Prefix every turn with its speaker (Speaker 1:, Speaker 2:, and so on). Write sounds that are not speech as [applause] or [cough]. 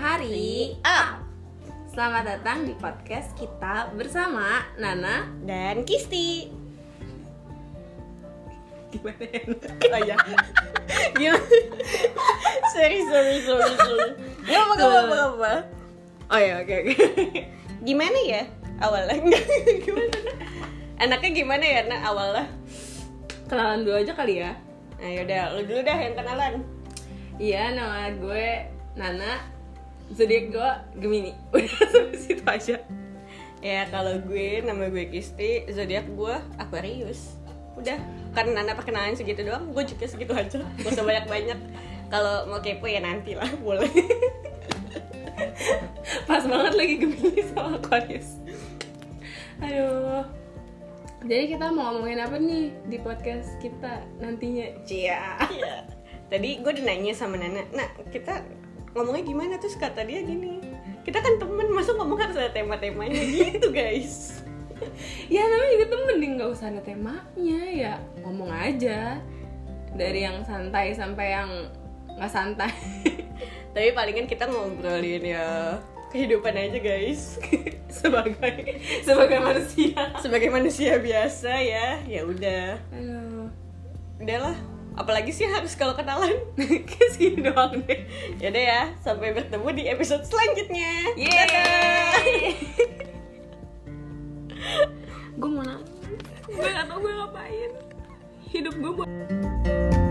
Speaker 1: Mari up. Selamat datang di podcast kita bersama Nana.
Speaker 2: dan Kisti.
Speaker 1: Gimana? iya.
Speaker 2: Oh [laughs] ya. Gimana? sorry, sorry, sorry, sorry. Gak apa, gak apa, gak apa. Oh
Speaker 1: iya,
Speaker 2: ya, oke, oke. Gimana ya awalnya? [laughs] gimana? Anaknya gimana ya, nak awalnya?
Speaker 1: [laughs] Kenalan dulu aja kali ya.
Speaker 2: Nah yaudah, lu dulu dah yang kenalan.
Speaker 1: Iya, nama gue Nana. Zodiak gue Gemini. [laughs] Udah sampai situ aja.
Speaker 2: Ya kalau gue, nama gue Kisti, zodiak gue Aquarius. Udah, karena Nana perkenalan segitu doang, gue juga segitu aja. Gak usah banyak-banyak. Kalau mau kepo ya nanti lah, boleh.
Speaker 1: Pas banget lagi Gemini sama Aquarius. Aduh. Jadi kita mau ngomongin apa nih di podcast kita nantinya? Cia.
Speaker 2: Iya. Tadi gue udah nanya sama Nana, nah kita ngomongnya gimana terus kata dia gini, kita kan temen masa ngomong harus ada tema-temanya [laughs] gitu guys.
Speaker 1: ya namanya juga temen nih nggak usah ada temanya ya ngomong aja dari yang santai sampai yang nggak santai [laughs]
Speaker 2: Tapi palingan kita ngobrolin ya kehidupan aja guys [laughs] sebagai
Speaker 1: sebagai manusia
Speaker 2: sebagai manusia biasa ya ya udah
Speaker 1: aduh
Speaker 2: udahlah apalagi sih harus kalau kenalan [laughs]
Speaker 1: kayak segini doang deh
Speaker 2: yaudah ya sampai bertemu di episode selanjutnya
Speaker 1: [laughs] yeay gue mau nangis gue gak tau gue ngapain hidup gue